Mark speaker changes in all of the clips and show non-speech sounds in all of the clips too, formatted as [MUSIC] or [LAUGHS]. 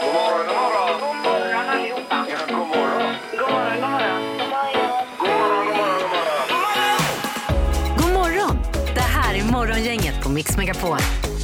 Speaker 1: God morgon, god morgon.
Speaker 2: God morgon allihopa.
Speaker 1: Ja, god morgon.
Speaker 2: God morgon, god morgon.
Speaker 1: God morgon, god morgon, god morgon.
Speaker 3: God morgon! Det här är Morgongänget på Mix Megapol.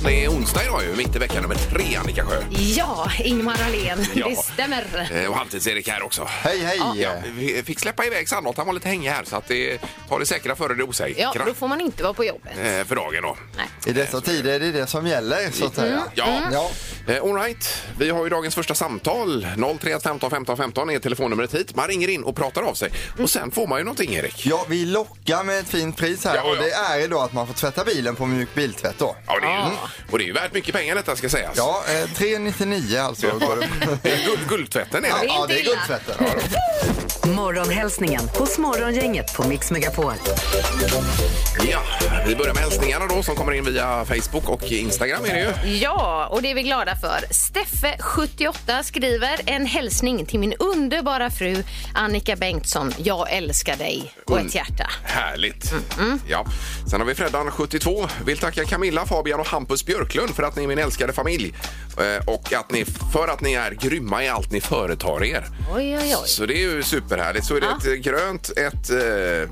Speaker 4: Det är onsdag idag ju, mitt i vecka nummer tre Annika Sjö.
Speaker 5: Ja, Ingmar Ahlén.
Speaker 4: Ja.
Speaker 5: Det stämmer.
Speaker 4: Eh, Och halvtids-Erik här också.
Speaker 6: Hej, hej!
Speaker 4: Ja, vi fick släppa iväg Sandholt, han var lite hängig här så att det tar det säkra före det osäkra.
Speaker 5: Ja, då får man inte vara på jobbet.
Speaker 4: Eh, För dagen då.
Speaker 5: Nej.
Speaker 6: I dessa tider är det det som gäller, så att säga.
Speaker 4: Mm.
Speaker 6: Mm.
Speaker 4: Ja.
Speaker 6: Ja.
Speaker 4: Eh, All right. Vi har ju dagens första samtal. 031 15 15 15 är telefonnumret hit. Man ringer in och pratar av sig. Och sen får man ju någonting, Erik.
Speaker 6: ja, vi lockar med ett fint pris här
Speaker 4: Ja, ja.
Speaker 6: och det är då att man får tvätta bilen på mjuk biltvätt då.
Speaker 4: Ja, det är, ju- Och det är ju värt mycket pengar detta ska sägas.
Speaker 6: Ja, eh, 399 alltså. Går det...
Speaker 4: Det är guld, guldtvätten är det.
Speaker 6: ja, det är guldtvätten. Ja, då.
Speaker 3: Morgonhälsningen hos Morgongänget på Mix Megapol.
Speaker 4: Ja, vi börjar med hälsningarna då som kommer in via Facebook och Instagram är det ju.
Speaker 5: Ja, och det är vi glada för. Steffe, 78, skriver en hälsning till min underbara fru Annika Bengtsson. Jag älskar dig. Och
Speaker 4: Mm.
Speaker 5: ett hjärta.
Speaker 4: Härligt. Ja. Sen har vi Freddan, 72. Vill tacka Camilla, Fabian och Hampus Björklund för att ni är min älskade familj Eh, och att ni, för att ni är grymma i allt ni företar er.
Speaker 5: Oj, oj, oj.
Speaker 4: Så det är ju superhärligt. Så är det
Speaker 5: Ja.
Speaker 4: ett eh, grönt, ett... Eh,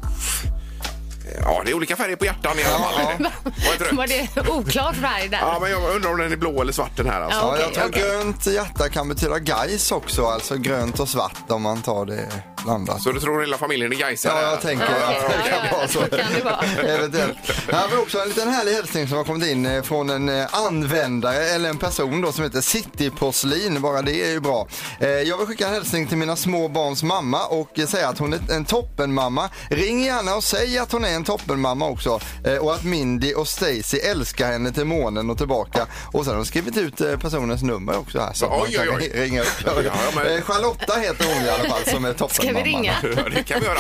Speaker 4: ja, det är olika färger på hjärtan i alla fall. Ja. Och
Speaker 5: [LAUGHS]
Speaker 4: ett
Speaker 5: Var
Speaker 4: rött.
Speaker 5: det oklart färg där?
Speaker 4: Ja, men jag undrar om den är blå eller svart den här. Alltså.
Speaker 5: Ja,
Speaker 6: Ja,
Speaker 5: okej,
Speaker 6: jag tror
Speaker 5: okej.
Speaker 6: grönt hjärta kan betyda guys också, alltså grönt och svart om man tar det blandat.
Speaker 4: Så du tror hela familjen är gaisare?
Speaker 6: Ja, jag tänker
Speaker 5: Ja,
Speaker 6: att det
Speaker 5: okej. Ja,
Speaker 6: kan
Speaker 5: ja,
Speaker 6: vara så.
Speaker 5: så kan det vara.
Speaker 6: Eventuellt. Här har vi också en liten härlig hälsning som har kommit in eh, från en eh, användare eller en person då som heter Cityporslin. Bara det är ju bra. Eh, Jag vill skicka en hälsning till mina små barns mamma och eh, säga att hon är en toppenmamma. Ring gärna och säg att hon är en toppenmamma också eh, och att Mindy och Stacy älskar henne till månen och tillbaka. Och sen har de skrivit ut eh, personens nummer också här så att man
Speaker 4: Oj, oj,
Speaker 6: kan
Speaker 4: oj.
Speaker 6: ringa upp.
Speaker 4: Ja, ja, men-
Speaker 6: Eh, Charlotta heter hon i alla fall som är
Speaker 5: Ska
Speaker 6: toppenmamman.
Speaker 5: vi ringa?
Speaker 4: Ja, det kan vi göra.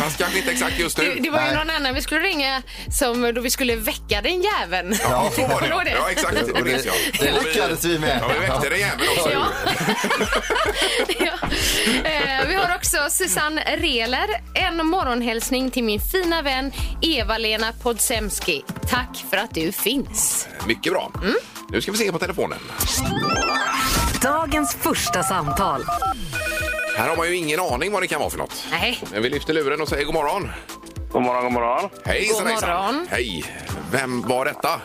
Speaker 4: Fast kanske inte exakt just
Speaker 5: Det,
Speaker 4: nu.
Speaker 5: det var ju
Speaker 6: Nej.
Speaker 5: någon annan vi skulle ringa som då vi skulle väcka den jäveln.
Speaker 4: Ja, så var
Speaker 5: Kommer du ihåg
Speaker 4: det. Ja, exakt. Det minns jag.
Speaker 6: Det lyckades vi med.
Speaker 4: Ja, vi väckte dig även också.
Speaker 5: Ja. [LAUGHS] ja. Eh, Vi har också Susanne Reler. En morgonhälsning till min fina vän Eva-Lena Podsemski. Tack för att du finns.
Speaker 4: Mycket bra.
Speaker 5: Mm.
Speaker 4: Nu ska vi se på telefonen.
Speaker 3: Dagens första samtal.
Speaker 4: Här har man ju ingen aning vad det kan vara för något.
Speaker 5: Nej.
Speaker 4: Men vi lyfter luren och säger god morgon.
Speaker 7: God morgon, god morgon.
Speaker 4: Hej,
Speaker 5: God morgon.
Speaker 4: Hej. Vem var detta?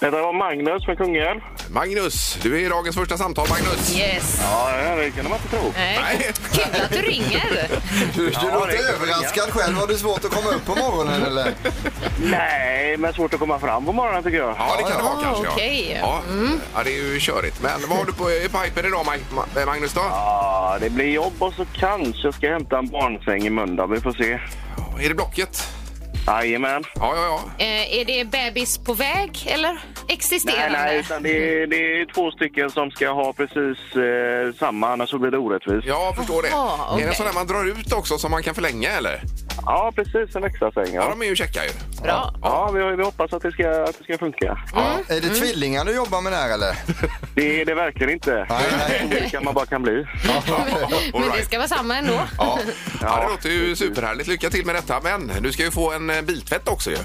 Speaker 7: Detta var Magnus från Kungälv.
Speaker 4: Magnus. Du är i dagens första samtal, Magnus.
Speaker 5: Yes.
Speaker 7: Ja, det kunde man inte tro.
Speaker 5: Nej.
Speaker 4: Nej.
Speaker 5: Kul att du ringer.
Speaker 6: Du, du
Speaker 7: Ja, det
Speaker 6: låter
Speaker 7: är klart.
Speaker 6: överraskad själv. Har du svårt att komma upp på morgonen eller?
Speaker 7: [LAUGHS] Nej, men svårt att komma fram på morgonen tycker jag.
Speaker 4: Ja, det kan det vara
Speaker 5: Ja,
Speaker 4: kanske.
Speaker 5: okej. Mm.
Speaker 4: Ja. ja, det är ju körigt. Men vad har du på i pipen idag, Mag- Ma- eh, Magnus? Då?
Speaker 7: Ja, det blir jobb och så kanske jag ska hämta en barnsäng i måndag. Vi får se.
Speaker 4: Är det Blocket?
Speaker 7: Jajamän.
Speaker 4: Ja, ja, ja.
Speaker 5: Eh, Är det bebis på väg eller
Speaker 7: Nej,
Speaker 5: existerande?
Speaker 7: nej, utan det är, det är två stycken som ska ha precis eh, samma, annars så blir det orättvist.
Speaker 4: Ja, jag förstår
Speaker 5: Jaha,
Speaker 4: det. Är det en
Speaker 5: okej.
Speaker 4: sån där man drar ut också som man kan förlänga, eller?
Speaker 7: Ja, precis en extra säng.
Speaker 4: Ja,
Speaker 7: Ja,
Speaker 4: de är ju käcka ju.
Speaker 5: Bra.
Speaker 7: ja vi, vi hoppas att det, ska, att det ska funka.
Speaker 6: Är det tvillingar du jobbar med där eller?
Speaker 7: Det är det verkligen inte.
Speaker 6: Nej, nej.
Speaker 7: Det kan man bara kan bli.
Speaker 4: All
Speaker 5: Men det
Speaker 4: right.
Speaker 5: ska vara samma ändå.
Speaker 4: Ja. det låter ju superhärligt. Lycka till med detta. Men du ska ju få en eh, biltvätt också ju.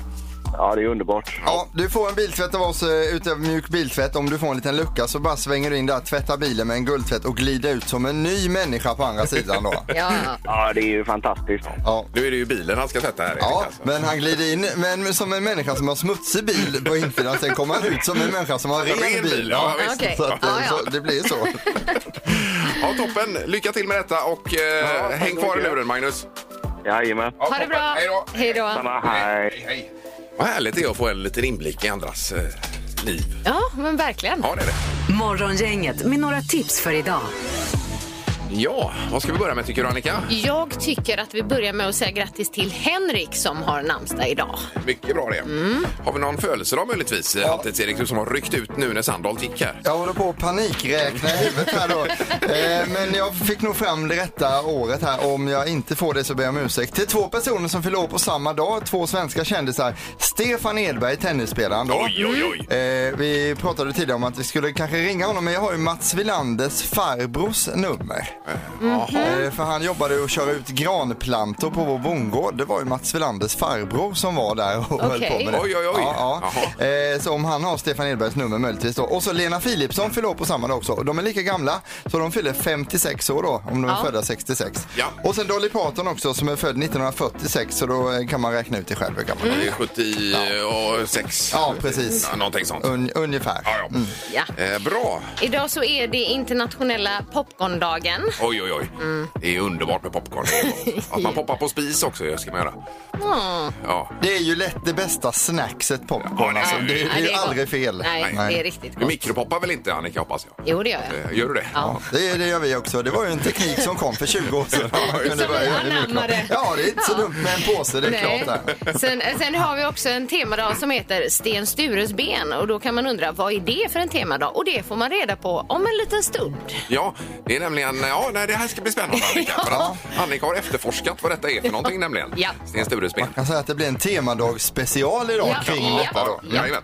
Speaker 7: Ja, det är underbart.
Speaker 6: Ja, du får en biltvätt av oss eh, utöver mjuk biltvätt. Om du får en liten lucka så bara svänger du in där, tvättar bilen med en guldtvätt och glider ut som en ny människa på andra
Speaker 5: [LAUGHS]
Speaker 6: sidan då.
Speaker 5: Ja, ja.
Speaker 7: Ja, det är ju fantastiskt.
Speaker 6: Ja.
Speaker 4: Nu är det ju bilen han ska tvätta här. Erik,
Speaker 6: Ja,
Speaker 4: alltså.
Speaker 6: men han glider in men som en människa som har smutsig bil på insidan. Sen kommer han ut som en människa som har ren bil.
Speaker 4: Ja, visst.
Speaker 5: Okej.
Speaker 6: Så, att, eh,
Speaker 5: Ja, ja.
Speaker 6: så det blir så.
Speaker 4: ja, toppen. Lycka till med detta och eh,
Speaker 7: Ja, tack
Speaker 4: häng
Speaker 7: så
Speaker 4: kvar i
Speaker 7: mycket.
Speaker 4: luren, Magnus.
Speaker 7: Jajamän.
Speaker 4: Ja,
Speaker 5: Ha det
Speaker 4: toppen.
Speaker 5: bra.
Speaker 4: Hej då.
Speaker 5: Hej då.
Speaker 7: Samma, hej.
Speaker 4: Hej. Vad härligt det är att få en liten inblick i andras eh, liv.
Speaker 5: Ja, men verkligen.
Speaker 4: Ja, det är det.
Speaker 3: Morgongänget med några tips för idag.
Speaker 4: Ja, vad ska vi börja med tycker du Annika?
Speaker 5: Jag tycker att vi börjar med att säga grattis till Henrik som har namnsdag idag.
Speaker 4: Mycket bra det.
Speaker 5: Mm.
Speaker 4: Har vi någon födelsedag möjligtvis? Alltids Erik, du som har ryckt ut nu när Sandholt gick här.
Speaker 6: Jag håller på att panikräkna i huvudet här då. Eh, men jag fick nog fram det rätta året här. Om jag inte får det så ber jag om ursäkt. Till två personer som fyller år på samma dag. Två svenska kändisar. Stefan Edberg, tennisspelaren då.
Speaker 4: Oj, oj, oj.
Speaker 6: Eh, vi pratade tidigare om att vi skulle kanske ringa honom men jag har ju Mats Wilanders farbrors nummer.
Speaker 4: Mhm. Jaha.
Speaker 6: Eh, För han jobbade och körde ut granplantor på vår bondgård. Det var ju Mats Welanders farbror som var där och höll
Speaker 5: Okej.
Speaker 6: på med det.
Speaker 4: Oj, oj, oj.
Speaker 6: Ja, ja. Eh, så om han har Stefan Edbergs nummer möjligtvis då. Och så Lena Philipsson fyller år på samma dag också. Och De är lika gamla, så de fyller 56 år då, om de är
Speaker 5: Ja.
Speaker 6: födda 66.
Speaker 4: Ja.
Speaker 6: Och sen Dolly Parton också, som är född 1946, så då eh, kan man räkna ut det själv hur gammal mm.
Speaker 4: Det är 76.
Speaker 6: Ja, precis.
Speaker 4: Ja, Någonting sånt.
Speaker 6: Un, ungefär.
Speaker 4: Ja, ja.
Speaker 5: Ja.
Speaker 4: Eh, bra.
Speaker 5: Idag så är det internationella popcorndagen.
Speaker 4: Oj, oj, oj. Det är underbart med popcorn. Att man poppar på spis också, det ska man göra.
Speaker 5: Mm.
Speaker 4: Ja.
Speaker 6: Det är ju lätt det bästa snackset popcorn.
Speaker 4: Ja,
Speaker 6: alltså.
Speaker 4: det är-
Speaker 6: det, det är
Speaker 5: Nej,
Speaker 6: ju
Speaker 5: det är gott.
Speaker 6: aldrig fel.
Speaker 5: Nej, det är riktigt
Speaker 4: Du
Speaker 5: gott.
Speaker 4: mikropoppar väl inte, Annika, hoppas jag?
Speaker 5: Jo, det gör jag.
Speaker 4: Eh, Gör du det?
Speaker 5: Ja.
Speaker 6: Det, det gör vi också. Det var ju en teknik som kom för 20 år
Speaker 5: [LAUGHS]
Speaker 6: sedan. Man kunde
Speaker 5: Som
Speaker 6: börja
Speaker 5: vi
Speaker 6: göra det i mikron.
Speaker 5: anammade.
Speaker 6: Ja, det är inte så dumt med en påse, det är
Speaker 5: Nej.
Speaker 6: klart. Där.
Speaker 5: Sen, sen har vi också en temadag som heter Sten Stures ben och då kan man undra vad är det för en temadag? Och det får man reda på om en liten stund.
Speaker 4: Ja, det är nämligen... Ja, nej, det här ska bli spännande,
Speaker 5: [LAUGHS]
Speaker 4: Annika. För att Annika har efterforskat vad detta är för någonting, nämligen.
Speaker 5: Ja.
Speaker 4: Sten Stures ben.
Speaker 6: Man kan säga att det blir en temadagsspecial idag
Speaker 5: Ja. Ja.
Speaker 6: kring detta. Då.
Speaker 4: Ja. jajamän.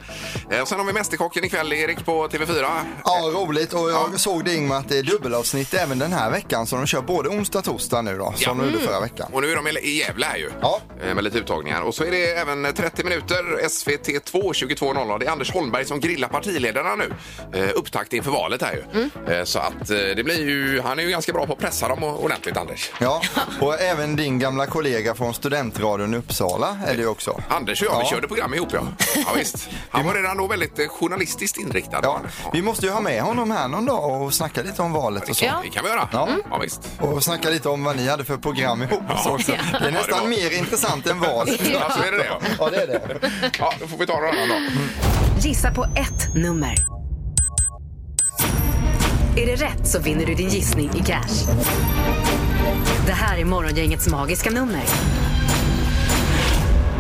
Speaker 4: Eh, och sen har vi Mästerkocken ikväll, Erik, på TV4.
Speaker 6: Ja, roligt. Och jag såg det Ingmar att det är dubbelavsnitt även den här veckan. Så de kör både onsdag och torsdag nu då, som
Speaker 4: Ja.
Speaker 6: de gjorde förra veckan.
Speaker 4: Och nu är de i- i Gävle här ju.
Speaker 6: Ja.
Speaker 4: Eh, Med lite uttagningar. Och så är det även 30 minuter SVT2 22.00. Det är Anders Holmberg som grillar partiledarna nu. Eh, Upptakt inför valet här ju.
Speaker 6: Mm.
Speaker 4: Eh, Så att eh, det blir ju... Han är ju ganska bra på att pressa dem o- ordentligt, Anders.
Speaker 6: Ja, och även din gamla kollega från studentradion i Uppsala är det ju också.
Speaker 4: Anders och jag, vi
Speaker 6: Ja.
Speaker 4: körde program ihop ja. ja
Speaker 6: [LAUGHS]
Speaker 4: visst. Han var redan då väldigt eh, journalistiskt inriktad.
Speaker 6: Ja, vi måste ju ha med honom här någon dag och snacka lite om valet och så.
Speaker 4: Det kan vi göra. Ja.
Speaker 6: Ja.
Speaker 4: visst.
Speaker 6: Och snacka lite om vad ni hade för program ihop. och Så också. Det är
Speaker 4: Ja, det var-
Speaker 6: nästan mer intressant än valet.
Speaker 4: Alltså, är det det?
Speaker 6: Ja, det är det.
Speaker 4: Ja, då får vi ta någon annan dag.
Speaker 3: Gissa på ett nummer. Är det rätt så vinner du din gissning i cash. Det här är Morgongängets magiska nummer.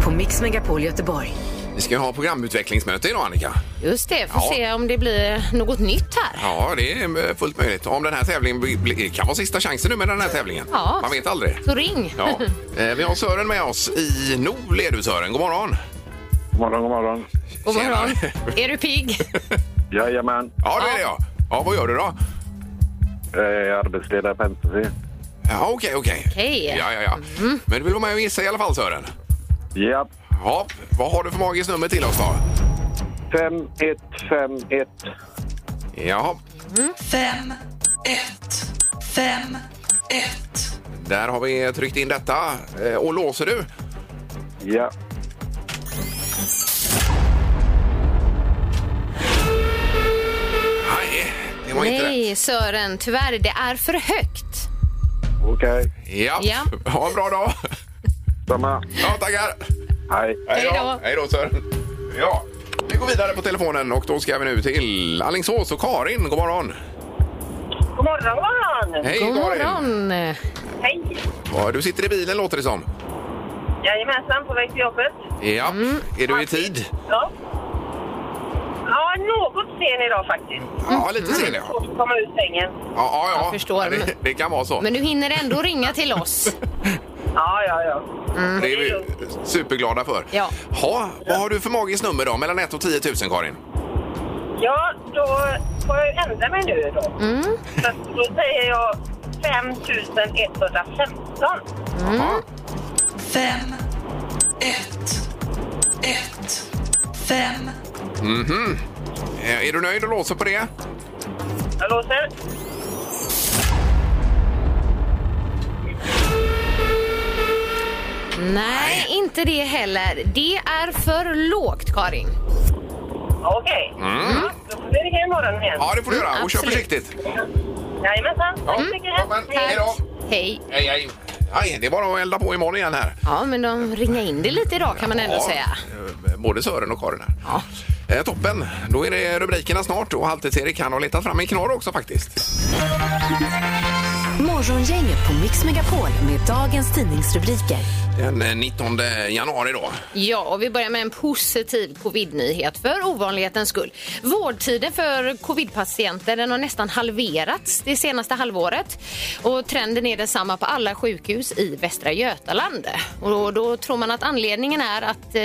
Speaker 3: På Mix Megapol Göteborg.
Speaker 4: Vi ska ju ha programutvecklingsmöte idag, Annika.
Speaker 5: Just det, får
Speaker 4: Ja.
Speaker 5: se om det blir något nytt här.
Speaker 4: Ja, det är eh, fullt möjligt. Om den här tävlingen blir- blir- kan vara sista chansen nu med den här tävlingen.
Speaker 5: Ja.
Speaker 4: Man vet aldrig.
Speaker 5: Så ring!
Speaker 4: Ja. Eh, Vi har Sören med oss i Nol. Är du Sören? God morgon!
Speaker 7: God morgon, god morgon.
Speaker 5: [LAUGHS] God
Speaker 4: tjena.
Speaker 5: morgon. Är du
Speaker 6: [LAUGHS]
Speaker 5: pigg?
Speaker 7: Jajamän.
Speaker 4: Ja, det är det jag. Ja, vad gör du då?
Speaker 7: Jag är arbetsledare på NCC.
Speaker 4: Ja, okej, okej.
Speaker 5: Okej. Mm.
Speaker 4: Ja, ja, ja. Men du vill vara med och gissa i alla fall, Sören?
Speaker 7: Ja.
Speaker 4: Ja, vad har du för magiskt nummer till oss då?
Speaker 7: 5151.
Speaker 4: Jaha,
Speaker 5: Mm.
Speaker 8: Fem, ett, fem, ett.
Speaker 4: där har vi tryckt in detta. Eh, Och låser du?
Speaker 7: Ja.
Speaker 4: Nej, det var inte rätt.
Speaker 5: Nej, Sören, tyvärr, det är för högt.
Speaker 7: Okej.
Speaker 4: Ja.
Speaker 5: Ja.
Speaker 4: Ha en bra dag!
Speaker 7: Samma.
Speaker 4: Ja, tackar!
Speaker 7: Hej.
Speaker 5: Hej då.
Speaker 4: Hej då, Sören! Ja, vi går vidare på telefonen och då ska vi nu till Alingsås och Karin. God morgon!
Speaker 2: God morgon, god morgon!
Speaker 4: Hej,
Speaker 5: God
Speaker 4: Karin!
Speaker 5: morgon!
Speaker 2: Hej!
Speaker 4: Ja, du sitter i bilen låter det som.
Speaker 2: Jajamensan, på väg till jobbet.
Speaker 4: Ja,
Speaker 5: Mm.
Speaker 4: är du i tid?
Speaker 2: Ja. Ja, något sen idag faktiskt.
Speaker 4: Ja, lite sen ja.
Speaker 2: Svårt att komma ur sängen.
Speaker 4: Ja, ja, ja.
Speaker 5: Mm. Jag förstår, men-
Speaker 4: Det, det kan vara så.
Speaker 5: Men du hinner ändå ringa till oss.
Speaker 2: Ja, ja, ja.
Speaker 4: Det är vi superglada för.
Speaker 5: Ja.
Speaker 4: Ha, vad har du för magiskt nummer då? Mellan 1 och 10 000 Karin?
Speaker 2: Ja, då får jag ändra mig nu då. Så att då säger jag 5115.
Speaker 5: Mm.
Speaker 4: Ja.
Speaker 8: Fem, ett, ett, fem.
Speaker 4: Eh, Är du nöjd och låser på det?
Speaker 2: Jag låser.
Speaker 5: Nej, inte det heller. Det är för lågt, Karin.
Speaker 2: Okej. Ja, Då får vi ringa imorgon igen.
Speaker 4: Mm. Ja, det får du göra. Och kör
Speaker 5: absolut.
Speaker 4: försiktigt.
Speaker 2: Jajamensan. Tack så mycket.
Speaker 4: Ja, men, hej då!
Speaker 5: Hej.
Speaker 4: Hej, hej. Aj, det är bara att elda på imorgon igen här.
Speaker 5: Ja, men de ringar in det lite idag kan man ändå säga.
Speaker 4: eh, Både Sören och Karin här.
Speaker 5: Ja.
Speaker 4: Eh, toppen! Då är det rubrikerna snart och Halvtids-Erik han har letat fram en knorr också faktiskt.
Speaker 3: Morgongänget på Mix Megapol med dagens tidningsrubriker.
Speaker 4: Den eh, 19 januari då.
Speaker 5: Ja, och vi börjar med en positiv covid-nyhet för ovanlighetens skull. Vårdtiden för covid-patienter den har nästan halverats det senaste halvåret. Och trenden är densamma på alla sjukhus i Västra Götaland. Och då, då tror man att anledningen är att eh, det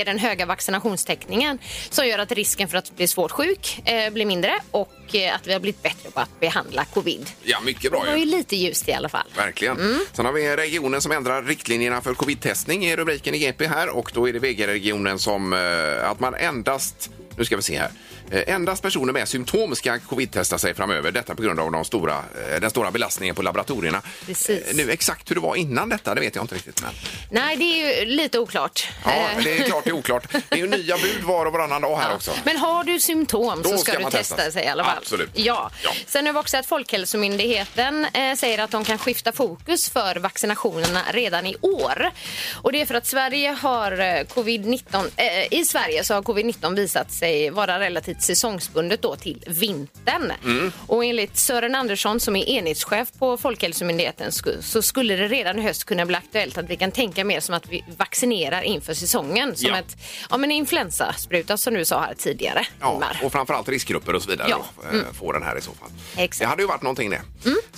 Speaker 5: är den höga vaccinationstäckningen som gör att risken för att bli svårt sjuk eh, blir mindre och eh, att vi har blivit bättre på att behandla covid.
Speaker 4: Ja, mycket bra
Speaker 5: Det var ju lite ljust i alla fall.
Speaker 4: Verkligen. Sen har vi regionen som ändrar riktlinjerna för covid-testning i rubriken i GP här och då är det VG-regionen som eh, att man endast, nu ska vi se här, Eh, endast personer med symptom ska covid-testa sig framöver. Detta på grund av de stora, eh, den stora belastningen på laboratorierna.
Speaker 5: Precis.
Speaker 4: Eh, Nu exakt hur det var innan detta, det vet jag inte riktigt. Men,
Speaker 5: Nej, det är ju lite oklart.
Speaker 4: ja,
Speaker 5: Eh,
Speaker 4: det är klart, det är oklart. Det är ju nya bud var och varannan dag här också.
Speaker 5: Men har du symptom
Speaker 4: Då
Speaker 5: så ska,
Speaker 4: ska
Speaker 5: du
Speaker 4: man
Speaker 5: testa
Speaker 4: testas.
Speaker 5: sig i alla fall.
Speaker 4: Absolut.
Speaker 5: Ja.
Speaker 4: Ja.
Speaker 5: Sen har vi också att Folkhälsomyndigheten eh, säger att de kan skifta fokus för vaccinationerna redan i år. Och det är för att Sverige har eh, covid-19, eh, i Sverige så har covid-19 visat sig vara relativt säsongsbundet då till vintern.
Speaker 4: Mm.
Speaker 5: Och enligt Sören Andersson som är enhetschef på Folkhälsomyndigheten sku- så skulle det redan i höst kunna bli aktuellt att vi kan tänka mer som att vi vaccinerar inför säsongen. Som
Speaker 4: Ja.
Speaker 5: ett ja, men influensaspruta som du sa här tidigare.
Speaker 4: Ja,
Speaker 5: Ingmar.
Speaker 4: och framförallt riskgrupper och så vidare
Speaker 5: Ja, Mm.
Speaker 4: då, eh, får den här i så fall.
Speaker 5: Exakt. Mm.
Speaker 4: Det hade ju varit någonting det.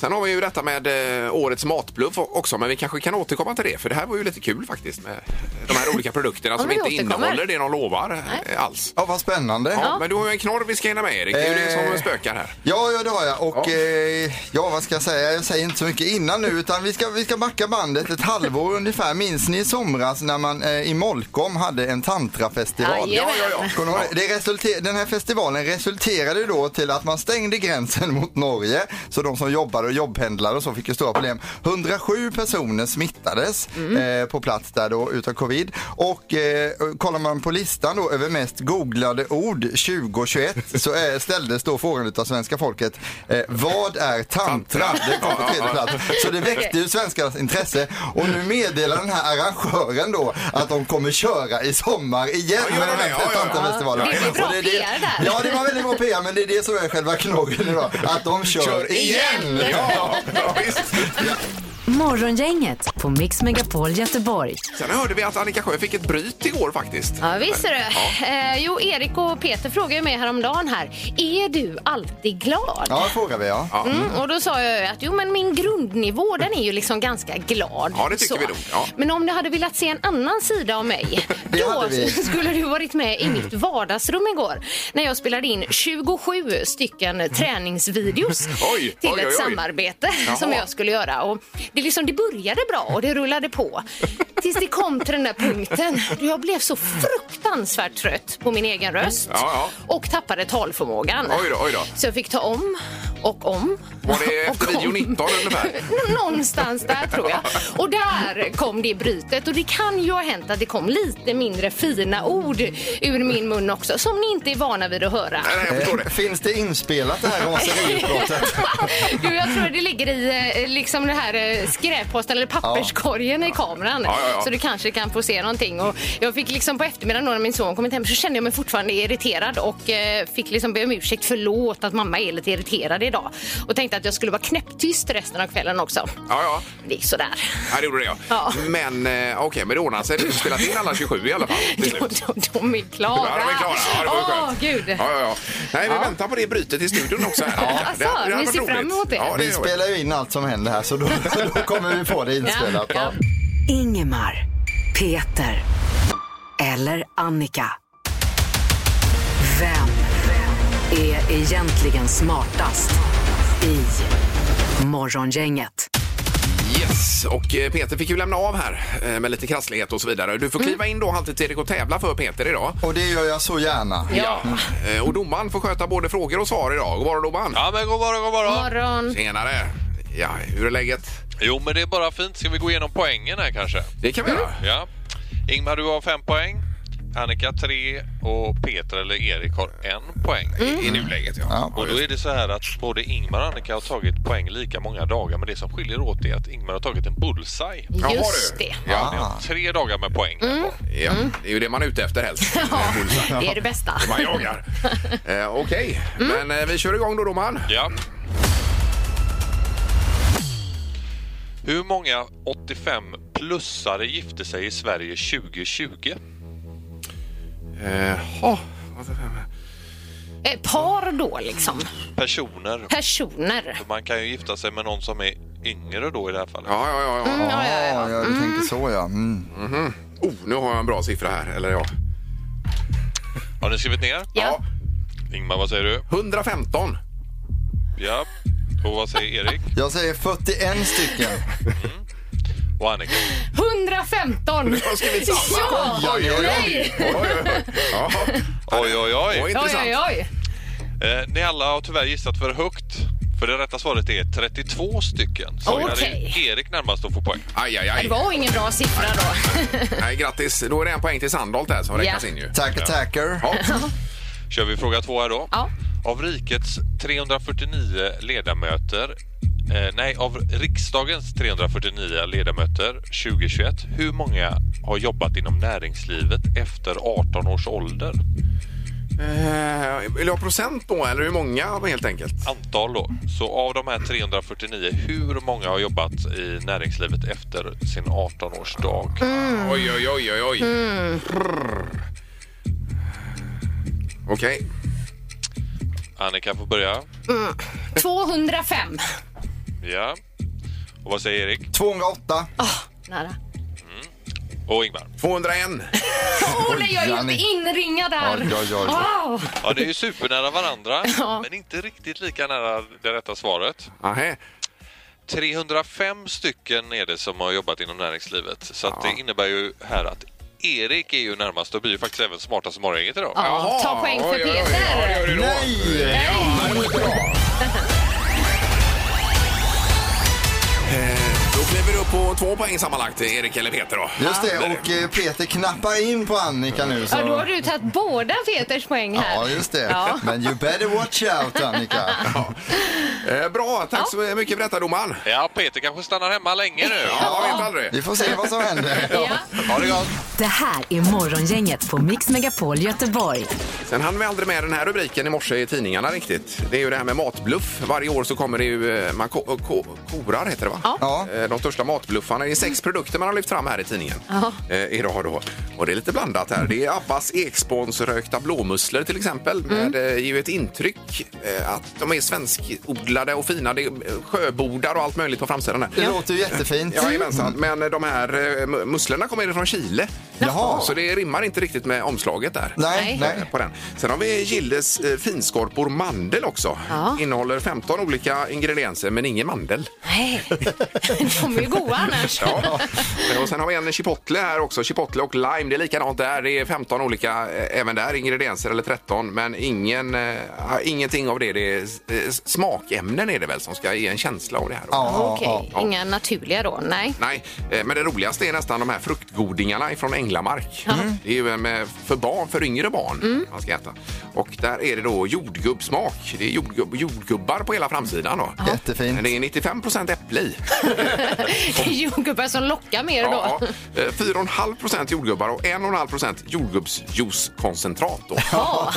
Speaker 4: Sen har vi ju detta med eh, årets matbluff o- också, men vi kanske kan återkomma till det för det här var ju lite kul faktiskt med de här olika produkterna
Speaker 5: Ja,
Speaker 4: som
Speaker 5: men vi
Speaker 4: inte
Speaker 5: återkommer.
Speaker 4: innehåller det de lovar eh, alls.
Speaker 6: Ja, vad spännande.
Speaker 4: Ja, Men du har ju en knorr vi ska hinna med Erik, det är ju det som
Speaker 6: Eh.
Speaker 4: spökar här.
Speaker 6: Ja, ja det har jag. Och
Speaker 4: Ja.
Speaker 6: ja. Eh, ja, vad ska jag säga? Jag säger inte så mycket innan nu utan vi ska, vi ska backa bandet ett halvår ungefär. Minns ni i somras när man eh, i Molkom hade en tantrafestival?
Speaker 5: Jajamän. Ja,
Speaker 4: ja, ja.
Speaker 6: Kommer ni ihåg det? Det resulter- den här festivalen resulterade ju då till att man stängde gränsen [LAUGHS] mot Norge så de som jobbade och jobbpendlade och så fick ju stora problem. 107 personer smittades
Speaker 4: Mm.
Speaker 6: eh, på plats där då utav covid och eh, kollar man på listan då över mest googlade
Speaker 4: [LAUGHS]
Speaker 6: ord 2021 så eh, ställdes då frågan utav svenska folket eh, vad är tantra? Det kom på tredje plats. Så det väckte ju svenskarnas intresse och nu meddelar den här arrangören då att de kommer köra i sommar igen
Speaker 4: Ja, gör
Speaker 6: med
Speaker 4: de
Speaker 6: den
Speaker 4: det? Ja,
Speaker 6: här
Speaker 4: ja.
Speaker 6: tantrafestivalen.
Speaker 5: Det blir bra
Speaker 6: Och
Speaker 5: PR där.
Speaker 6: Ja, Alltså, det var väldigt bra PR men det är det som är själva knorren idag. Att de kör, igen!
Speaker 4: Ja, ja, visst.
Speaker 3: Morgongänget på Mix Megapol Göteborg.
Speaker 4: Sen hörde vi att Annika Sjö fick ett bryt igår faktiskt.
Speaker 5: Ja, visst är det. Eh, jo, Erik och Peter frågade ju mig häromdagen här. Är du alltid glad?
Speaker 6: Ja, frågar vi ja.
Speaker 5: Mm, och då sa jag ju att jo, men min grundnivå den är ju liksom ganska glad.
Speaker 4: Ja, det tycker vi nog, ja.
Speaker 5: Men om du hade velat se en annan sida av
Speaker 4: [LAUGHS]
Speaker 5: mig,
Speaker 6: Det
Speaker 5: då
Speaker 6: hade vi.
Speaker 5: skulle du varit med i
Speaker 4: Mm.
Speaker 5: mitt vardagsrum igår när jag spelade in 27 stycken träningsvideos
Speaker 4: Mm. [LAUGHS] Oj,
Speaker 5: till
Speaker 4: oj, oj,
Speaker 5: ett
Speaker 4: oj.
Speaker 5: samarbete som
Speaker 4: Jaha.
Speaker 5: jag skulle göra. Och det, liksom, det började bra och det rullade på tills det kom till den där punkten då jag blev så fruktansvärt trött på min egen röst
Speaker 4: Ja,
Speaker 5: och tappade talförmågan.
Speaker 4: Oj då, oj då.
Speaker 5: Så jag fick ta om och om.
Speaker 4: Var
Speaker 5: [LAUGHS]
Speaker 4: det
Speaker 5: och
Speaker 4: efter
Speaker 5: om.
Speaker 4: video 19 ungefär?
Speaker 5: Nå- [LAUGHS] Någonstans där tror jag. Och där kom det brytet. Och det kan ju ha hänt att det kom lite mindre fina ord ur min mun också som ni inte är vana vid att höra.
Speaker 4: Nej, nej, jag förstår det.
Speaker 6: Eh,
Speaker 5: Eh.
Speaker 6: Finns det inspelat det här raseriutbrottet?
Speaker 4: [LAUGHS]
Speaker 5: [LAUGHS] Du, jag tror det ligger i eh, liksom det här eh, skräpposten eller papperskorgen i kameran.
Speaker 4: Ja, ja, ja.
Speaker 5: Så du kanske kan få se någonting. Och jag fick liksom på eftermiddagen då när min son kommit hem så kände jag mig fortfarande irriterad och eh, fick liksom be om ursäkt. Förlåt att mamma är lite irriterad idag. Och tänkte att jag skulle vara knäpptyst resten av kvällen också.
Speaker 4: Ja, ja.
Speaker 5: Det gick sådär.
Speaker 4: Ja, det gjorde det ja.
Speaker 5: Ja.
Speaker 4: Men eh, okej, men det ordnar sig. Du har spelat in alla 27 i
Speaker 5: [LAUGHS]
Speaker 4: alla fall. till
Speaker 5: De,
Speaker 4: slut.
Speaker 5: de, de är klara.
Speaker 4: Ja, de är klara. Ja, det var ju
Speaker 5: Åh,
Speaker 4: skönt.
Speaker 5: gud.
Speaker 4: Ja, ja, ja. Nej, vi väntar på det brytet i studion också. Här.
Speaker 5: Alltså,
Speaker 4: hade
Speaker 5: ni
Speaker 4: varit
Speaker 5: ser fram
Speaker 4: roligt.
Speaker 5: emot det.
Speaker 4: Ja, det
Speaker 6: Vi
Speaker 4: gör vi.
Speaker 6: spelar ju in allt som händer här så då, då kommer vi få det inspelat.
Speaker 5: Ja.
Speaker 6: Ja.
Speaker 3: Ingemar, Peter eller Annika. Vem är egentligen smartast i Morgongänget?
Speaker 4: Yes, och eh, Peter fick ju lämna av här eh, med lite krasslighet och så vidare. Du får
Speaker 5: Mm.
Speaker 4: kliva in då halvtid Erik och tävla för Peter idag.
Speaker 6: Och det gör jag så gärna.
Speaker 5: Ja.
Speaker 4: Eh, Och domaren får sköta både frågor och svar idag. God morgon domaren.
Speaker 9: Ja men god morgon, god morgon.
Speaker 5: Morgon.
Speaker 4: Tjenare. Ja, hur är läget?
Speaker 9: Jo men det är bara fint. Ska vi gå igenom poängen här kanske?
Speaker 4: Det kan vi
Speaker 5: Mm.
Speaker 4: göra.
Speaker 9: Ja. Ingmar du har fem poäng. Annika tre och Peter eller Erik har en poäng.
Speaker 4: I nuläget ja.
Speaker 6: Ja.
Speaker 9: Och då är det så här att både Ingmar och Annika har tagit poäng lika många dagar men det som skiljer åt är att Ingmar har tagit en bullseye.
Speaker 4: Jaha,
Speaker 5: Just
Speaker 4: du.
Speaker 5: det.
Speaker 9: Ni
Speaker 6: Ah.
Speaker 4: Ja,
Speaker 9: har tre dagar med poäng. Mm.
Speaker 4: ja. Det är ju det man är ute efter
Speaker 5: [LAUGHS]
Speaker 4: helst.
Speaker 5: Det är det bästa.
Speaker 4: Man jagar. eh, Okej,
Speaker 5: Mm.
Speaker 4: men eh, vi kör igång då domaren.
Speaker 9: Ja. Hur många 85-plussare gifte sig i Sverige 2020?
Speaker 4: Jaha.
Speaker 5: Eh, Par då liksom.
Speaker 9: Personer.
Speaker 5: Personer.
Speaker 9: För Man kan ju gifta sig med någon som är yngre då i det här fallet.
Speaker 4: Ja, ja, ja. ja.
Speaker 5: Ja, ja, ja.
Speaker 6: Ja, du tänker så ja. Mm.
Speaker 4: Oh, nu har jag en bra siffra här. Eller ja.
Speaker 9: Har ni skrivit ner?
Speaker 5: Ja.
Speaker 9: Ingmar, vad säger du?
Speaker 4: 115.
Speaker 9: Ja. Och vad säger Erik?
Speaker 6: Jag säger 41 stycken.
Speaker 9: Och Annika?
Speaker 5: 115!
Speaker 4: Du har skrivit samma?
Speaker 5: Ja!
Speaker 4: Oj, oj, oj.
Speaker 5: Nej.
Speaker 4: oj, oj, oj. Ja.
Speaker 9: Oj, oj, oj.
Speaker 4: Oj,
Speaker 5: Oj,
Speaker 4: intressant.
Speaker 5: oj, oj.
Speaker 9: Eh, ni alla har tyvärr gissat för högt. För det rätta svaret är 32 stycken. Så där
Speaker 5: Okej.
Speaker 9: är Erik närmast att få poäng.
Speaker 4: Aj, aj,
Speaker 5: Det
Speaker 4: aj.
Speaker 5: var ingen bra siffra då.
Speaker 4: Nej, grattis. Då är det en poäng till Sandholt där som räknas
Speaker 5: Ja.
Speaker 4: in ju.
Speaker 6: Tack, tacker.
Speaker 5: [LAUGHS]
Speaker 4: Ja.
Speaker 9: Kör vi fråga två här då.
Speaker 5: Ja.
Speaker 9: Av rikets 349 ledamöter eh, Nej, av riksdagens 349 ledamöter 2021, hur många har jobbat inom näringslivet efter 18 års ålder?
Speaker 4: Eh, Vill du ha procent då eller hur många helt enkelt?
Speaker 9: Antal då. Så av de här 349, hur många har jobbat i näringslivet efter sin 18-årsdag?
Speaker 5: Mm.
Speaker 4: Oj, oj, oj, oj, oj. Brr. Okej.
Speaker 9: Annika får börja.
Speaker 5: 205.
Speaker 9: Ja. Och vad säger Erik?
Speaker 6: 208.
Speaker 5: Nära.
Speaker 9: Och Ingmar?
Speaker 4: 201.
Speaker 5: Olle, jag är
Speaker 6: Janni.
Speaker 5: inte inringad här.
Speaker 6: Oj, oj, oj.
Speaker 5: Wow.
Speaker 9: Ja, det är ju supernära varandra,
Speaker 5: [LAUGHS] Ja.
Speaker 9: men inte riktigt lika nära det rätta svaret.
Speaker 4: Aha.
Speaker 9: 305 stycken är det som har jobbat inom näringslivet. Så att det innebär ju här att Erik är ju närmast och blir ju faktiskt även smartast som morgongänget idag.
Speaker 5: Ja, ta poäng för
Speaker 4: Oj, oj, oj. Ja, det
Speaker 5: Peter.
Speaker 4: gör du då.
Speaker 6: Nej!
Speaker 4: Eh, Då kliver du upp på två poäng sammanlagt, Erik eller Peter. Då.
Speaker 6: Just det, och eh, Peter knappar in på Annika nu. Så.
Speaker 5: Ja, då har du tagit båda Peters poäng här.
Speaker 6: Ja, just det.
Speaker 5: Ja.
Speaker 6: Men you better watch out, Annika.
Speaker 4: Eh, Bra, tack så mycket för detta domaren.
Speaker 9: Ja, Peter kanske stannar hemma länge nu.
Speaker 4: Ja, man vet aldrig.
Speaker 6: Vi får se vad som händer.
Speaker 5: Ja.
Speaker 4: Ha det gott.
Speaker 3: Det här är Morgongänget på Mix Megapol Göteborg.
Speaker 4: Sen hann vi aldrig med den här rubriken i morse i tidningarna riktigt. Det är ju det här med matbluff. Varje år så kommer det ju, eh, man ko ko korar heter det va?
Speaker 5: Ja.
Speaker 6: Ja.
Speaker 4: Eh, De största matbluffarna. Det är sex produkter man har lyft fram här i tidningen
Speaker 5: Ja.
Speaker 4: eh, idag då. Och det är lite blandat här. Det är Abbas Ekspons rökta blåmusslor till exempel.
Speaker 5: Mm.
Speaker 4: Med eh, ju ett intryck eh, att de är svenskodlade och fina. Det är eh, sjöbodar och allt möjligt på framsidan där.
Speaker 6: Det låter ju jättefint.
Speaker 4: Jajamensan, men eh, de här eh, mu- musslorna kommer ju från Chile.
Speaker 6: Jaha.
Speaker 4: Så det rimmar inte riktigt med omslaget där.
Speaker 6: Nej,
Speaker 5: Nej.
Speaker 6: nej.
Speaker 4: På den. Sen har vi Gildes eh, finskorpor mandel också.
Speaker 5: Ja.
Speaker 4: Innehåller 15 olika ingredienser men ingen mandel.
Speaker 5: [LAUGHS] Nej, de är ju goda annars.
Speaker 4: Ja. och sen har vi en chipotle här också. Chipotle och lime, det är likadant där. Det är 15 olika eh, även där ingredienser eller 13 men ingen, eh, ingenting av det. det är, eh, smakämnen är det väl som ska ge en känsla av det här.
Speaker 6: Ja,
Speaker 5: Okej,
Speaker 6: ja.
Speaker 5: inga naturliga då. Nej.
Speaker 4: Nej, eh, men det roligaste är nästan de här fruktgodingarna från Änglamark. Mm. Det är ju eh, med, för barn, för yngre barn man ska äta. Och där är det då jordgubbsmak. Det är jordgubb, jordgubbar på hela framsidan då. Men
Speaker 6: Jättefint.
Speaker 4: det är 95 procent äpple i.
Speaker 5: Det är jordgubbar som lockar mer
Speaker 4: Ja,
Speaker 5: då.
Speaker 4: ja. Eh, 4,5 procent jordgubbar och 1,5 procent jordgubbsjuicekoncentrat. Då.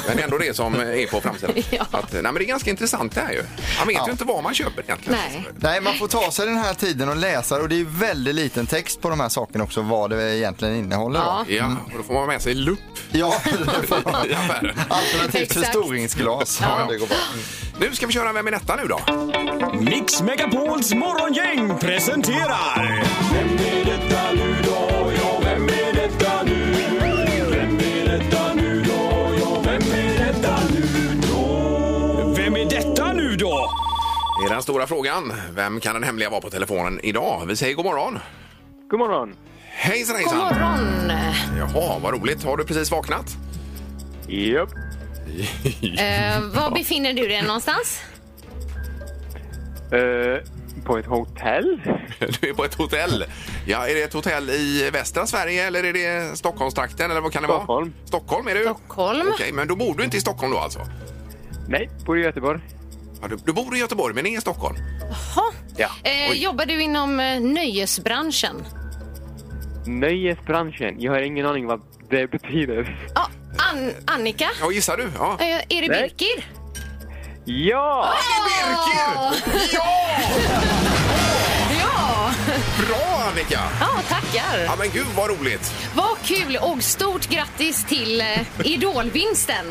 Speaker 4: Men ändå det som eh, är på framsidan.
Speaker 5: Ja.
Speaker 4: Att, eh, nej, men det är ganska intressant det här ju. Man vet
Speaker 6: Ja.
Speaker 4: ju inte vad man köper egentligen.
Speaker 5: Nej.
Speaker 6: Nej, man får ta sig den här tiden och läsa och det är väldigt liten text på de här sakerna också, vad det egentligen innehåller.
Speaker 5: Ja.
Speaker 6: då.
Speaker 4: Ja, och då får man med sig lupp
Speaker 6: Ja, [LAUGHS] det får man.
Speaker 4: i affären.
Speaker 6: alternativt
Speaker 5: Exakt.
Speaker 6: förstoringsglas. Ja, det går bra.
Speaker 4: Nu ska vi köra Vem är detta nu då?
Speaker 10: Mix Megapols morgongäng presenterar... Vem är detta nu då? Ja, vem är detta nu? Vem är detta nu då? Ja, vem är detta nu då? Vem är detta nu då?
Speaker 4: Det är den stora frågan. Vem kan den hemliga vara på telefonen idag? Vi säger god morgon.
Speaker 7: God morgon.
Speaker 4: Hejsan
Speaker 5: God
Speaker 4: hejsan!
Speaker 5: morgon.
Speaker 4: Jaha, vad roligt. Har du precis vaknat? [LAUGHS]
Speaker 7: Japp.
Speaker 5: Eh, var befinner du dig någonstans?
Speaker 7: Eh, på ett hotell?
Speaker 4: Du är på ett hotell. Ja, är det ett hotell i västra Sverige eller är det Stockholmstrakten eller vad kan det
Speaker 7: Stockholm.
Speaker 4: vara? Stockholm. är du?
Speaker 5: Stockholm.
Speaker 4: Okej, men då bor du inte i Stockholm då alltså?
Speaker 7: Nej, bor i Göteborg.
Speaker 4: Ja, du, du bor i Göteborg men är i Stockholm?
Speaker 5: Ha.
Speaker 4: Ja.
Speaker 5: Eh,
Speaker 4: Oj.
Speaker 5: jobbar du inom eh, nöjesbranschen?
Speaker 7: Nöjesbranschen. Jag har ingen aning vad det betyder.
Speaker 5: Ja, An Annika?
Speaker 4: Ja, gissar du? Ja.
Speaker 5: Eh, är det
Speaker 7: Nej.
Speaker 5: Birkir?
Speaker 7: Ja!
Speaker 4: Birker! Ja!
Speaker 5: Ja,
Speaker 4: Bra Annika!
Speaker 5: ja tackar.
Speaker 4: Ja men gud vad roligt!
Speaker 5: Vad kul och stort grattis till eh, Idolvinsten.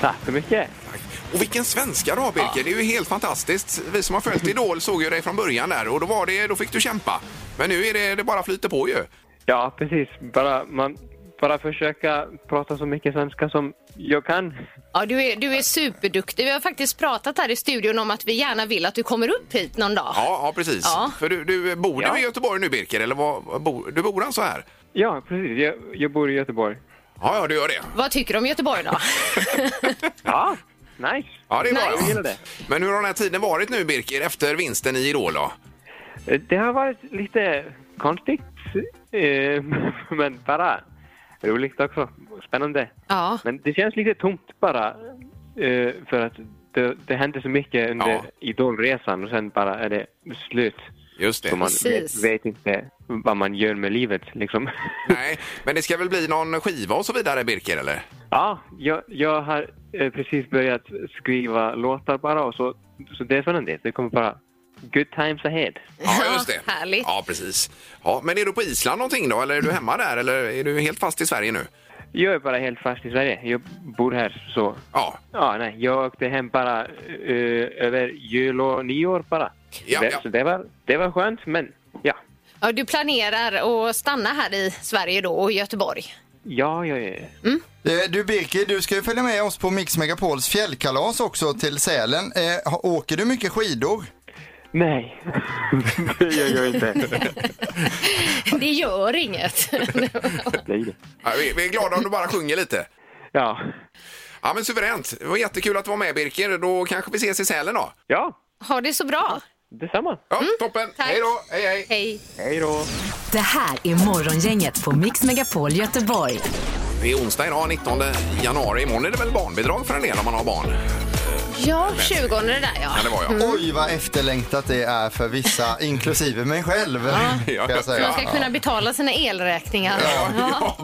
Speaker 7: Tack så mycket.
Speaker 4: Tack. Och vilken svenska du har Birker, det är ju helt fantastiskt. Vi som har följt Idol såg ju dig från början där och då, var det, då fick du kämpa. Men nu är det, det bara flyter på ju.
Speaker 7: Ja, precis. Bara man
Speaker 11: bara försöka prata så mycket svenska som jag kan.
Speaker 5: Ja, du är, du är superduktig. Vi har faktiskt pratat här i studion om att vi gärna vill att du kommer upp hit någon dag.
Speaker 4: Ja, ja precis.
Speaker 5: Ja.
Speaker 4: För du, du eh, bor du i Göteborg nu, Birker? Eller vad- vad bor- du bor alltså här?
Speaker 11: Ja, precis. Jag, jag bor i Göteborg.
Speaker 4: Ja, ja, du gör det.
Speaker 5: Vad tycker du om Göteborg
Speaker 4: [LAUGHS]
Speaker 5: då?
Speaker 11: Ja, nice.
Speaker 4: Ja, det är bra.
Speaker 11: Nice. Jag gillar det.
Speaker 4: Men hur har den här tiden varit nu, Birker, efter vinsten i Idol? Då?
Speaker 11: Eh, Det har varit lite konstigt, eh, [LAUGHS] men bara roligt också. Spännande.
Speaker 5: Ja.
Speaker 11: Men det känns lite tomt bara, eh, för att det, det hände så mycket under
Speaker 4: Ja.
Speaker 11: Idolresan och sen bara är det slut.
Speaker 4: Just det.
Speaker 11: Så man
Speaker 5: Precis.
Speaker 11: vet, vet inte vad man gör med livet liksom.
Speaker 4: Nej, men det ska väl bli någon skiva och så vidare, Birker? Eller?
Speaker 11: Ja, jag, jag har eh, precis börjat skriva låtar bara och så, så det är sådan det. Det kommer bara good times ahead.
Speaker 4: Ja, just det.
Speaker 5: Ja, härligt.
Speaker 4: Ja, precis. Ja, men är du på Island någonting då, eller är du hemma där, eller är du helt fast i Sverige nu?
Speaker 11: Jag är bara helt fast i Sverige. Jag bor här så.
Speaker 4: Ja,
Speaker 11: Ja, nej, jag åkte hem bara eh, över jul och nyår bara.
Speaker 4: Ja,
Speaker 11: det,
Speaker 4: ja.
Speaker 11: Så det var, det var skönt, men ja.
Speaker 5: Ja, du planerar att stanna här i Sverige då och i Göteborg?
Speaker 11: Ja, ja, ja.
Speaker 6: Eh, Du Birker, du ska ju följa med oss på Mix Megapols fjällkalas också till Sälen. Eh, ha- åker du mycket skidor?
Speaker 11: Nej, det gör jag inte.
Speaker 5: Det gör
Speaker 4: [LAUGHS]
Speaker 5: inget.
Speaker 11: Nej. det-
Speaker 4: Ja, vi, vi är glada om du bara sjunger lite.
Speaker 11: Ja.
Speaker 4: Ja, men suveränt. Det var jättekul att du var med, Birker. Då kanske vi ses i Sälen då.
Speaker 11: ja,
Speaker 5: Ha det så bra.
Speaker 11: detsamma.
Speaker 4: Ja, toppen.
Speaker 5: Mm. tack.
Speaker 4: Hej då. Hej, hej.
Speaker 5: Hej.
Speaker 11: Hej då.
Speaker 3: Det här är Morgongänget på Mix Megapol Göteborg.
Speaker 4: Det är onsdag idag, 19 januari. Imorgon är det väl barnbidrag för en del om man har barn?
Speaker 5: Ja, 20 där ja.
Speaker 4: Ja, det var jag.
Speaker 6: Mm. Oj vad efterlängtat det är
Speaker 4: [LAUGHS]
Speaker 6: för vissa, inklusive mig själv. kan
Speaker 4: Ja.
Speaker 6: jag
Speaker 5: Så
Speaker 6: säga.
Speaker 5: de ska kunna betala sina elräkningar.
Speaker 4: Ja,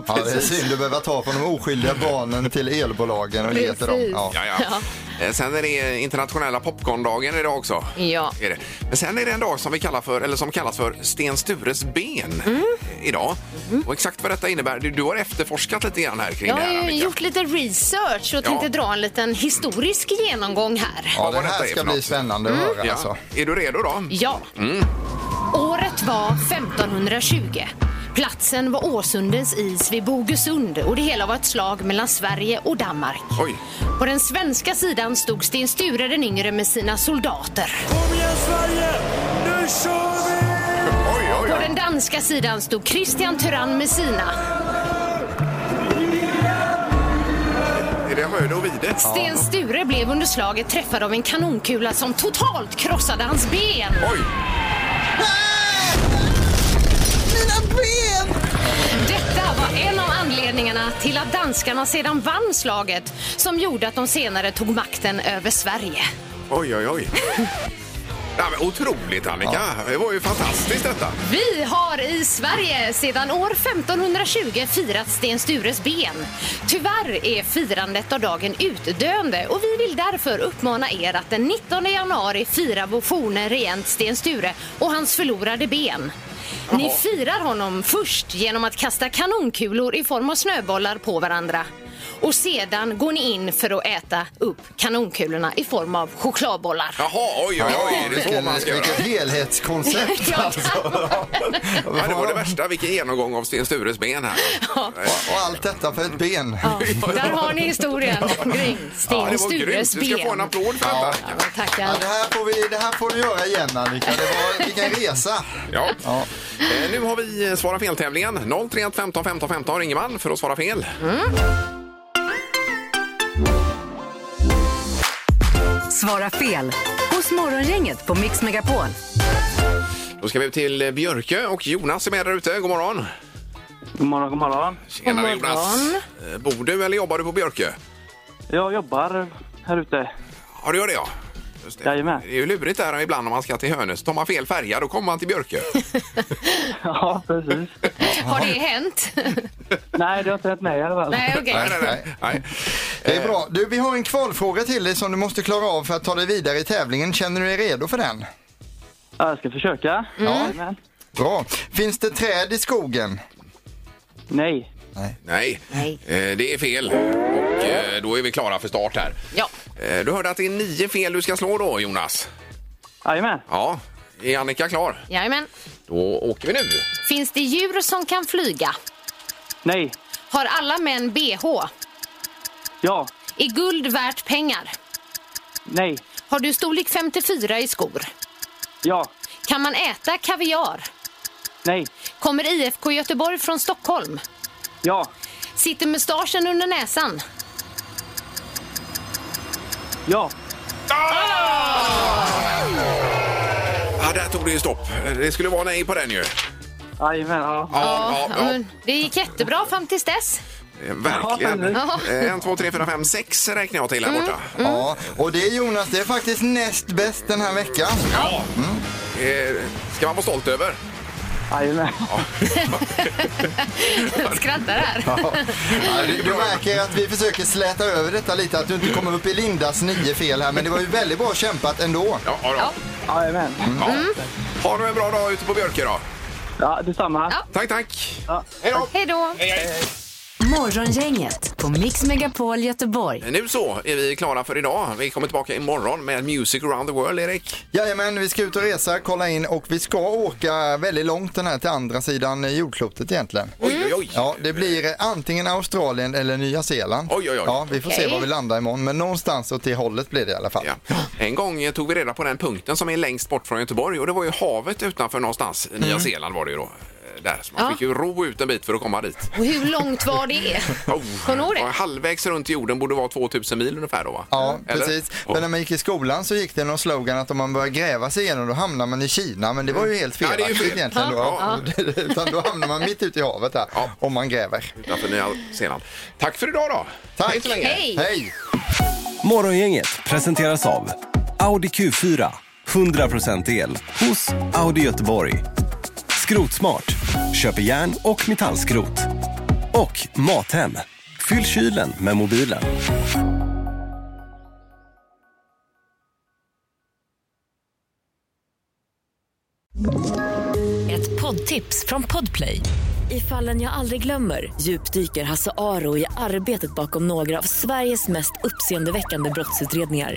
Speaker 6: Ja, det är
Speaker 4: precis.
Speaker 6: synd att behöva ta från de oskyldiga barnen till elbolagen och ge till dem.
Speaker 5: Precis.
Speaker 6: Ja.
Speaker 4: Ja, ja. Eh, Sen är det internationella popcorndagen idag också.
Speaker 5: Ja.
Speaker 4: Är det. Men sen är det en dag som, vi kallar för, eller som kallas för Sten Stures ben
Speaker 5: Mm.
Speaker 4: eh, idag. Och exakt vad detta innebär, du, du har efterforskat lite grann här kring
Speaker 5: Jag
Speaker 4: det
Speaker 5: har
Speaker 4: här.
Speaker 5: ju
Speaker 4: Annika.
Speaker 5: gjort lite research och tänkte
Speaker 4: Ja.
Speaker 5: dra en liten historisk genomgång här.
Speaker 6: Ja,
Speaker 4: Vad
Speaker 6: det
Speaker 4: var
Speaker 6: här
Speaker 4: detta är
Speaker 6: ska
Speaker 4: för
Speaker 6: bli
Speaker 4: något?
Speaker 6: spännande att höra alltså.
Speaker 4: Mm. Ja. Är du redo då?
Speaker 5: Ja. Året var 1520. Platsen var Åsundens is vid Bogesund och det hela var ett slag mellan Sverige och Danmark.
Speaker 4: Oj.
Speaker 5: På den svenska sidan stod Sten Sture den yngre med sina soldater.
Speaker 4: Oj, oj,
Speaker 5: På
Speaker 4: oj.
Speaker 5: den danska sidan stod Christian Tyrann med sina.
Speaker 4: Är det Röde och Vide?
Speaker 5: Sten Sture blev under slaget träffad av en kanonkula som totalt krossade hans ben.
Speaker 4: Oj,
Speaker 5: Detta var en av anledningarna till att danskarna sedan vann slaget som gjorde att de senare tog makten över Sverige.
Speaker 4: oj, oj.
Speaker 6: [LAUGHS]
Speaker 4: oj. Ja, men otroligt Annika! Det var ju fantastiskt detta.
Speaker 5: Vi har i Sverige sedan år 1520 firat Sten Stures ben. Tyvärr är firandet av dagen utdöende och vi vill därför uppmana er att den 19 januari fira vår forne regent Sten Sture och hans förlorade ben. Ni firar honom först genom att kasta kanonkulor i form av snöbollar på varandra. Och sedan går ni in för att äta upp kanonkulorna i form av chokladbollar.
Speaker 4: Jaha, oj, oj, oj. Det är så
Speaker 6: Vilken,
Speaker 4: man ska göra. [LAUGHS]
Speaker 6: vilket
Speaker 5: [LAUGHS]
Speaker 6: helhetskoncept alltså.
Speaker 4: Ja, det var det värsta. Vilken genomgång av Sten Stures ben här.
Speaker 6: Och allt detta för ett ben.
Speaker 5: Ja, där har ni historien kring Sten
Speaker 4: Ja, det var grymt.
Speaker 5: Stures
Speaker 4: Du ska få en
Speaker 5: ben.
Speaker 4: applåd för
Speaker 6: Ja.
Speaker 4: detta.
Speaker 5: Ja, men tackar.
Speaker 6: Ja, det, här får vi, det här får du göra igen Annika. Det var, vilken resa.
Speaker 4: Ja.
Speaker 6: Ja.
Speaker 4: Eh, Nu har vi eh, Svara fel-tävlingen. 031 15 15 15 ringer man för att svara fel.
Speaker 3: Svara fel hos Morgongänget på Mix Megapol.
Speaker 4: Då ska vi till eh, Björkö och Jonas är med där ute. God morgon!
Speaker 11: God morgon, god morgon.
Speaker 4: Tjenare
Speaker 5: God morgon.
Speaker 4: Jonas! Eh, Bor du eller jobbar du på Björkö?
Speaker 11: Jag jobbar här ute.
Speaker 4: Ja, du gör det ja. Just det.
Speaker 11: Jajamän.
Speaker 4: det är ju lurigt där ibland om man ska till Hönös. Tar man fel färja då kommer man till Björkö.
Speaker 11: Ja, precis.
Speaker 5: Har det
Speaker 4: [LAUGHS]
Speaker 5: hänt?
Speaker 11: Nej, det har inte hänt mig i alla fall.
Speaker 5: Nej, okej.
Speaker 4: [LAUGHS] nej, nej, nej.
Speaker 6: Det är bra. Du, vi har en kvalfråga till dig som du måste klara av för att ta dig vidare i tävlingen. Känner du dig redo för den?
Speaker 11: Ja, jag ska försöka. Ja.
Speaker 6: Bra. Finns det träd i skogen?
Speaker 11: Nej.
Speaker 4: Nej, Eh, det är fel. Och eh, då är vi klara för start här.
Speaker 5: Ja.
Speaker 4: Eh, Du hörde att det är nio fel du ska slå då, Jonas.
Speaker 11: Jajamän.
Speaker 4: Ja, är Annika klar?
Speaker 5: Jajamän.
Speaker 4: Då åker vi nu.
Speaker 5: Finns det djur som kan flyga?
Speaker 11: Nej.
Speaker 5: Har alla män bh?
Speaker 12: Ja.
Speaker 5: Är guld värt pengar?
Speaker 12: Nej.
Speaker 5: Har du storlek 54 i skor?
Speaker 12: Ja.
Speaker 5: Kan man äta kaviar?
Speaker 12: Nej.
Speaker 5: Kommer IFK Göteborg från Stockholm?
Speaker 12: Ja.
Speaker 5: Sitter mustaschen under näsan?
Speaker 12: Ja.
Speaker 4: Ja, där tog det ju stopp. Det skulle vara nej på den ju.
Speaker 12: Jajamän, ja.
Speaker 4: Ja, ja,
Speaker 5: men Det gick jättebra fram tills
Speaker 4: [LAUGHS]
Speaker 5: dess.
Speaker 4: Eh, Verkligen.
Speaker 5: Ja.
Speaker 4: Eh, En, två, tre, fyra, fem, sex räknar jag till här borta.
Speaker 6: Ja, och det är Jonas, det är faktiskt näst bäst den här veckan.
Speaker 4: Ja. Eh, ska man vara stolt över.
Speaker 12: Jajamän.
Speaker 5: Jag skrattar här.
Speaker 6: Ja. Du, du märker att vi försöker släta över detta lite, att du inte kommer upp i Lindas nio fel här, men det var ju väldigt bra kämpat ändå.
Speaker 4: Ja, ja, då.
Speaker 12: Jajamän.
Speaker 4: ja. Ha nu en bra dag ute på Björke då.
Speaker 12: Ja, detsamma.
Speaker 4: Tack, tack.
Speaker 5: Hej då! Hej då!
Speaker 3: Morgongänget på Mix Megapol Göteborg.
Speaker 4: Nu så är vi klara för idag. Vi kommer tillbaka imorgon med Music around the world, Erik.
Speaker 6: Jajamän, vi ska ut och resa, kolla in och vi ska åka väldigt långt den här till andra sidan jordklotet egentligen.
Speaker 4: Oj, oj, oj.
Speaker 6: Mm. Ja, det blir eh, antingen Australien eller Nya Zeeland.
Speaker 4: Oj, oj, oj.
Speaker 6: Ja, vi får se
Speaker 5: Okej.
Speaker 6: var vi landar imorgon, men någonstans åt det hållet blir det i alla fall.
Speaker 4: Ja. En gång tog vi reda på den punkten som är längst bort från Göteborg och det var ju havet utanför någonstans. i
Speaker 6: Mm.
Speaker 4: Nya Zeeland var det ju då. Eh, Där. Så man
Speaker 5: Ja.
Speaker 4: fick ju ro ut en bit för att komma dit.
Speaker 5: Och hur långt var det?
Speaker 4: Oh.
Speaker 5: Kommer du ihåg det?
Speaker 4: Ja, Halvvägs runt jorden borde vara 2000 mil ungefär då va?
Speaker 6: Ja,
Speaker 4: Eller?
Speaker 6: precis.
Speaker 4: Ja.
Speaker 6: Men när man gick i skolan så gick det någon slogan att om man börjar gräva sig igenom då hamnar man i Kina. Men det var ju helt
Speaker 4: Mm. Ja, det är ju
Speaker 6: felaktigt
Speaker 4: fel.
Speaker 6: egentligen. Då.
Speaker 4: Ja.
Speaker 6: [LAUGHS] Utan då hamnar man mitt ute i havet där
Speaker 4: Ja.
Speaker 6: om man gräver.
Speaker 4: Utanför Nya Zeeland. Tack för idag då!
Speaker 6: Tack.
Speaker 4: Hej så länge!
Speaker 5: Hej!
Speaker 6: Hej!
Speaker 10: Morgongänget presenteras av Audi Q4. 100% el hos Audi Göteborg. Skrotsmart. Köper järn och metallskrot. Och Mathem. Fyll kylen med mobilen.
Speaker 13: Ett poddtips från Podplay. I fallen jag aldrig glömmer djupdyker Hasse Aro i arbetet bakom några av Sveriges mest uppseendeväckande brottsutredningar.